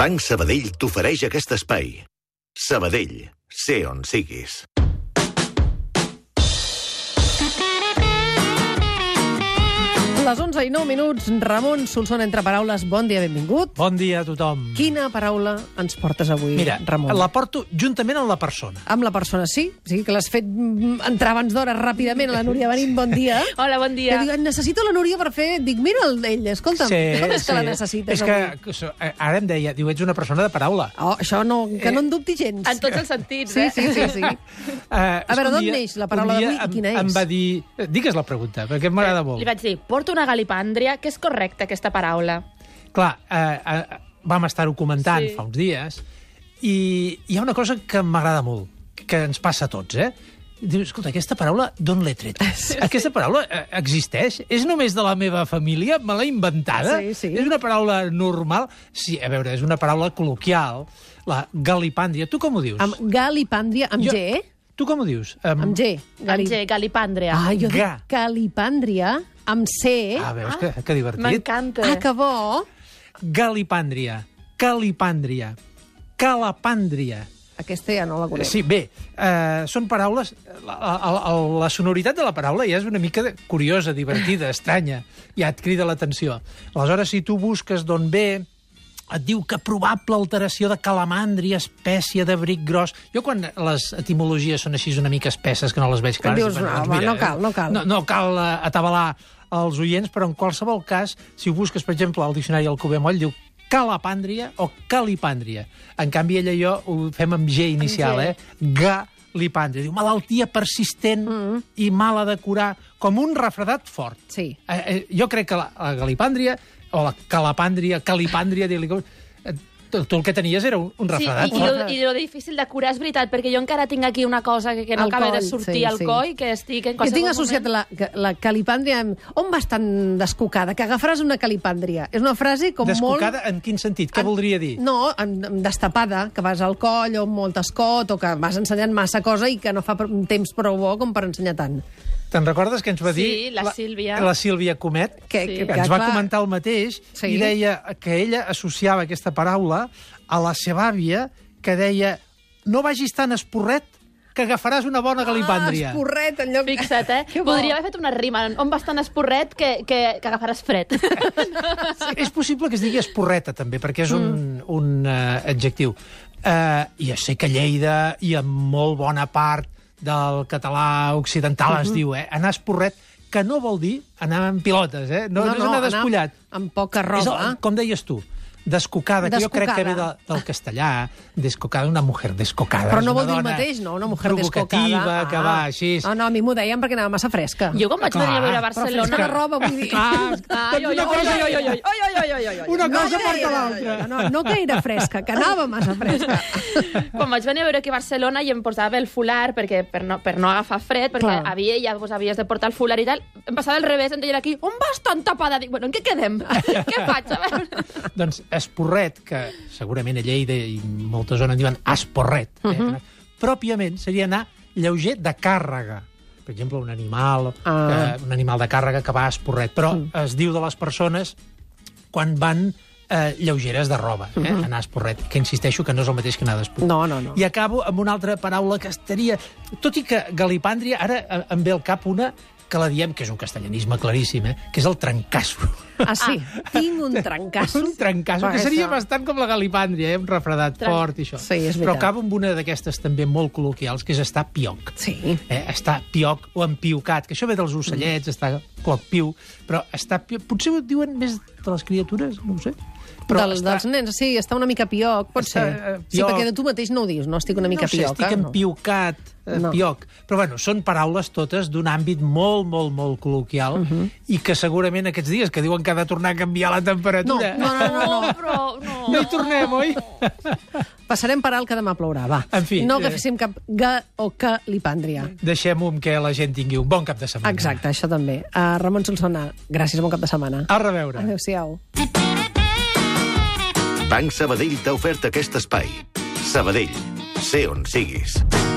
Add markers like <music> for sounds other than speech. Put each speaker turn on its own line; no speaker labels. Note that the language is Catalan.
Banc Sabadell t'ofereix aquest espai. Sabadell, sé on siguis.
Les 11 i 9 minuts, Ramon Solsona, entre paraules, bon dia, benvingut.
Bon dia a tothom.
Quina paraula ens portes avui,
Mira,
Ramon?
la porto juntament amb la persona.
Amb la persona, sí? O sigui que l'has fet mm, entrar abans d'hora ràpidament. La Núria, venim, bon dia.
<laughs>
Hola, bon dia.
Que diu, necessito la Núria per fer... Dic, mira el d'ell, escolta'm, com és que la necessites
És que
avui?
so- eh, ara em deia, diu, ets una persona de paraula.
Oh, això no, que no en dubti gens.
En tots els sentits,
Sí,
eh?
sí, sí,
<laughs>
sí.
Uh, a
veure, d'on neix la paraula d'avui i quina és? Eh,
Em va dir... eh, Digues la pregunta, perquè m'agrada molt.
Li vaig dir, porto una galipàndria, que és correcta aquesta paraula.
Clar, eh, eh, vam estar-ho comentant
Sí.
fa uns dies, i hi ha una cosa que m'agrada molt, que ens passa a tots, eh? Dius, escolta, aquesta paraula d'on l'he tret? Aquesta paraula eh, existeix? És només de la meva família? Me l'he inventada?
Sí, sí.
És una paraula normal? Sí, a veure, és una paraula col·loquial, la galipàndria. Tu com ho dius?
Amb galipàndria, amb
Jo-
G,
Tu com ho dius? Amb...
amb G.
Gali... G, galipàndria.
Ah, jo dic
Ga.
galipàndria, amb C.
Ah, veus que, que divertit?
M'encanta.
Ah, que bo.
Galipàndria, calipàndria, calapàndria.
Aquesta ja no la conec.
Sí, bé, eh, són paraules... La, la, la, la sonoritat de la paraula ja és una mica de- curiosa, divertida,
<laughs>
estranya, ja et crida l'atenció. Aleshores, si tu busques d'on ve, et diu que probable alteració de calamàndria, espècie de bric gros... Jo quan les etimologies són així una mica espesses, que no les veig clares...
Dius,
dic, bueno, doncs
no, home, no cal, no cal.
No, no cal eh, atabalar els oients, però en qualsevol cas, si ho busques, per exemple, al diccionari del Cuber Moll, diu calapàndria o calipàndria. En canvi, ella i jo ho fem amb G inicial,
G. Mm.
eh? Galipàndria. Diu malaltia persistent i mala de curar, com un refredat fort.
Sí.
Eh, eh, jo crec que la, la galipàndria, o la calapàndria, calipàndria, dir-li com... eh, Tu, tu el que tenies era un, un
Sí,
refredat
i, i,
fort.
lo, i lo difícil de curar és veritat, perquè jo encara tinc aquí una cosa que, que
Al
no acaba de
coll, sí,
sortir al
sí.
coll, que estic en
Jo
qualsevol
tinc associat
moment.
la, la calipàndria amb... On vas tan descocada? Que agafaràs una calipàndria. És una frase com
Descocada, en quin sentit? Què voldria dir?
molt... No, en- en destapada, que vas al coll o amb molt escot o que vas ensenyant massa cosa i que no fa pr- un temps prou bo com per ensenyar tant.
Te'n recordes que ens va
Sí,
dir...
la Sílvia.
La Sílvia Comet,
Que-
Sí.
que-
ens va
clar,
comentar el mateix
Sí.
i deia que ella associava aquesta paraula a la seva àvia, que deia no vagis tan esporret que agafaràs una bona
Ah,
galipàndria.
esporret, en lloc...
Fixa't,
<laughs>
eh?
Que bo.
Podria haver fet una rima on vas tan esporret que, que, que agafaràs fred.
és possible que es digui esporreta, també, perquè és un, mm. un uh, adjectiu. Uh, ja sé que a Lleida i en molt bona part del català occidental es diu, eh? Anar esporret, que no vol dir anar en pilotes, eh? No, no, no és anar despullat.
Amb, amb poca roba.
És el, com deies tu, descocada, que jo crec
Descocada.
que ve de, del castellà, descocada, una mujer descocada.
Però
és
no
una
vol dir el
dona
mateix, no? Una mujer
provocativa,
descocada. Ah.
que va així.
No, no, a mi m'ho deien perquè anava massa fresca.
Jo quan vaig venir a
Clar,
viure a
però
Barcelona...
fresca de roba, vull dir.
Ah,
Ai,
doncs
oi, oi,
una
oi,
cosa-
oi, oi, oi, oi, oi, oi, oi, oi.
Una cosa
que
porta
era-
l'altra.
No, no que era fresca, que anava massa fresca.
Quan vaig venir a veure aquí a Barcelona i em posava el fular perquè per no, per no agafar fred, perquè
Clar.
Clar. havia ja pues, havies de portar el fular i tal, em passava al revés, em deien aquí, on vas tan tapada? Dic, bueno, en què quedem? <laughs> què faig? A veure...
Doncs esporret, que segurament a Lleida i en moltes zones en diuen esporret, eh?
Mhm.
pròpiament seria anar lleuger de càrrega. Per exemple, un animal,
Ah. Mm.
eh, un animal de càrrega que va esporret. Però es diu de les persones quan van eh, lleugeres de roba, eh? anar esporret, que insisteixo que <laughs> no és el mateix que anar d'esporret.
Mhm. No, no, no.
I acabo amb una altra paraula que estaria... Tot i que galipàndria, ara eh, em ve al cap una que la diem, que és un castellanisme claríssim, eh? que és el trencasso.
Ah, sí, tinc un trencasso.
Un trencasso, que
Això.
seria bastant com la galipàndria, eh? un refredat
Tren-
fort i això.
Sí, és veritat.
Però acabo amb una d'aquestes també molt col·loquials, que és estar pioc.
Sí.
Eh? Estar pioc o empiocat, que això ve dels ocellets, mm. estar cloc piu, però estar pioc... Potser ho diuen més de les criatures, no ho sé.
Però
Però
Del,
estar-
Dels nens, sí, està una mica pioc, pot
Està,
ser.
eh,
Sí,
pioc.
perquè de tu mateix no ho dius, no? Estic una mica
no ho sé,
pioca.
estic empiocat, eh,
No.
no. pioc. Però bueno, són paraules totes d'un àmbit molt, molt, molt col·loquial
Mhm.
i que segurament aquests dies que diuen que ha de tornar a canviar la
No,
temperatura...
no, no, no,
<laughs>
no.
però no.
No hi tornem, oi?
Passarem per alt que demà plourà, va.
En fi,
no
eh,
agaféssim cap ga o calipàndria.
Deixem-ho amb que la gent tingui un bon cap de setmana.
Exacte, això també. Uh, Ramon Solsona, gràcies, bon cap de setmana.
A reveure.
Adéu-siau.
Banc Sabadell t'ha ofert aquest espai. Sabadell, sé on siguis.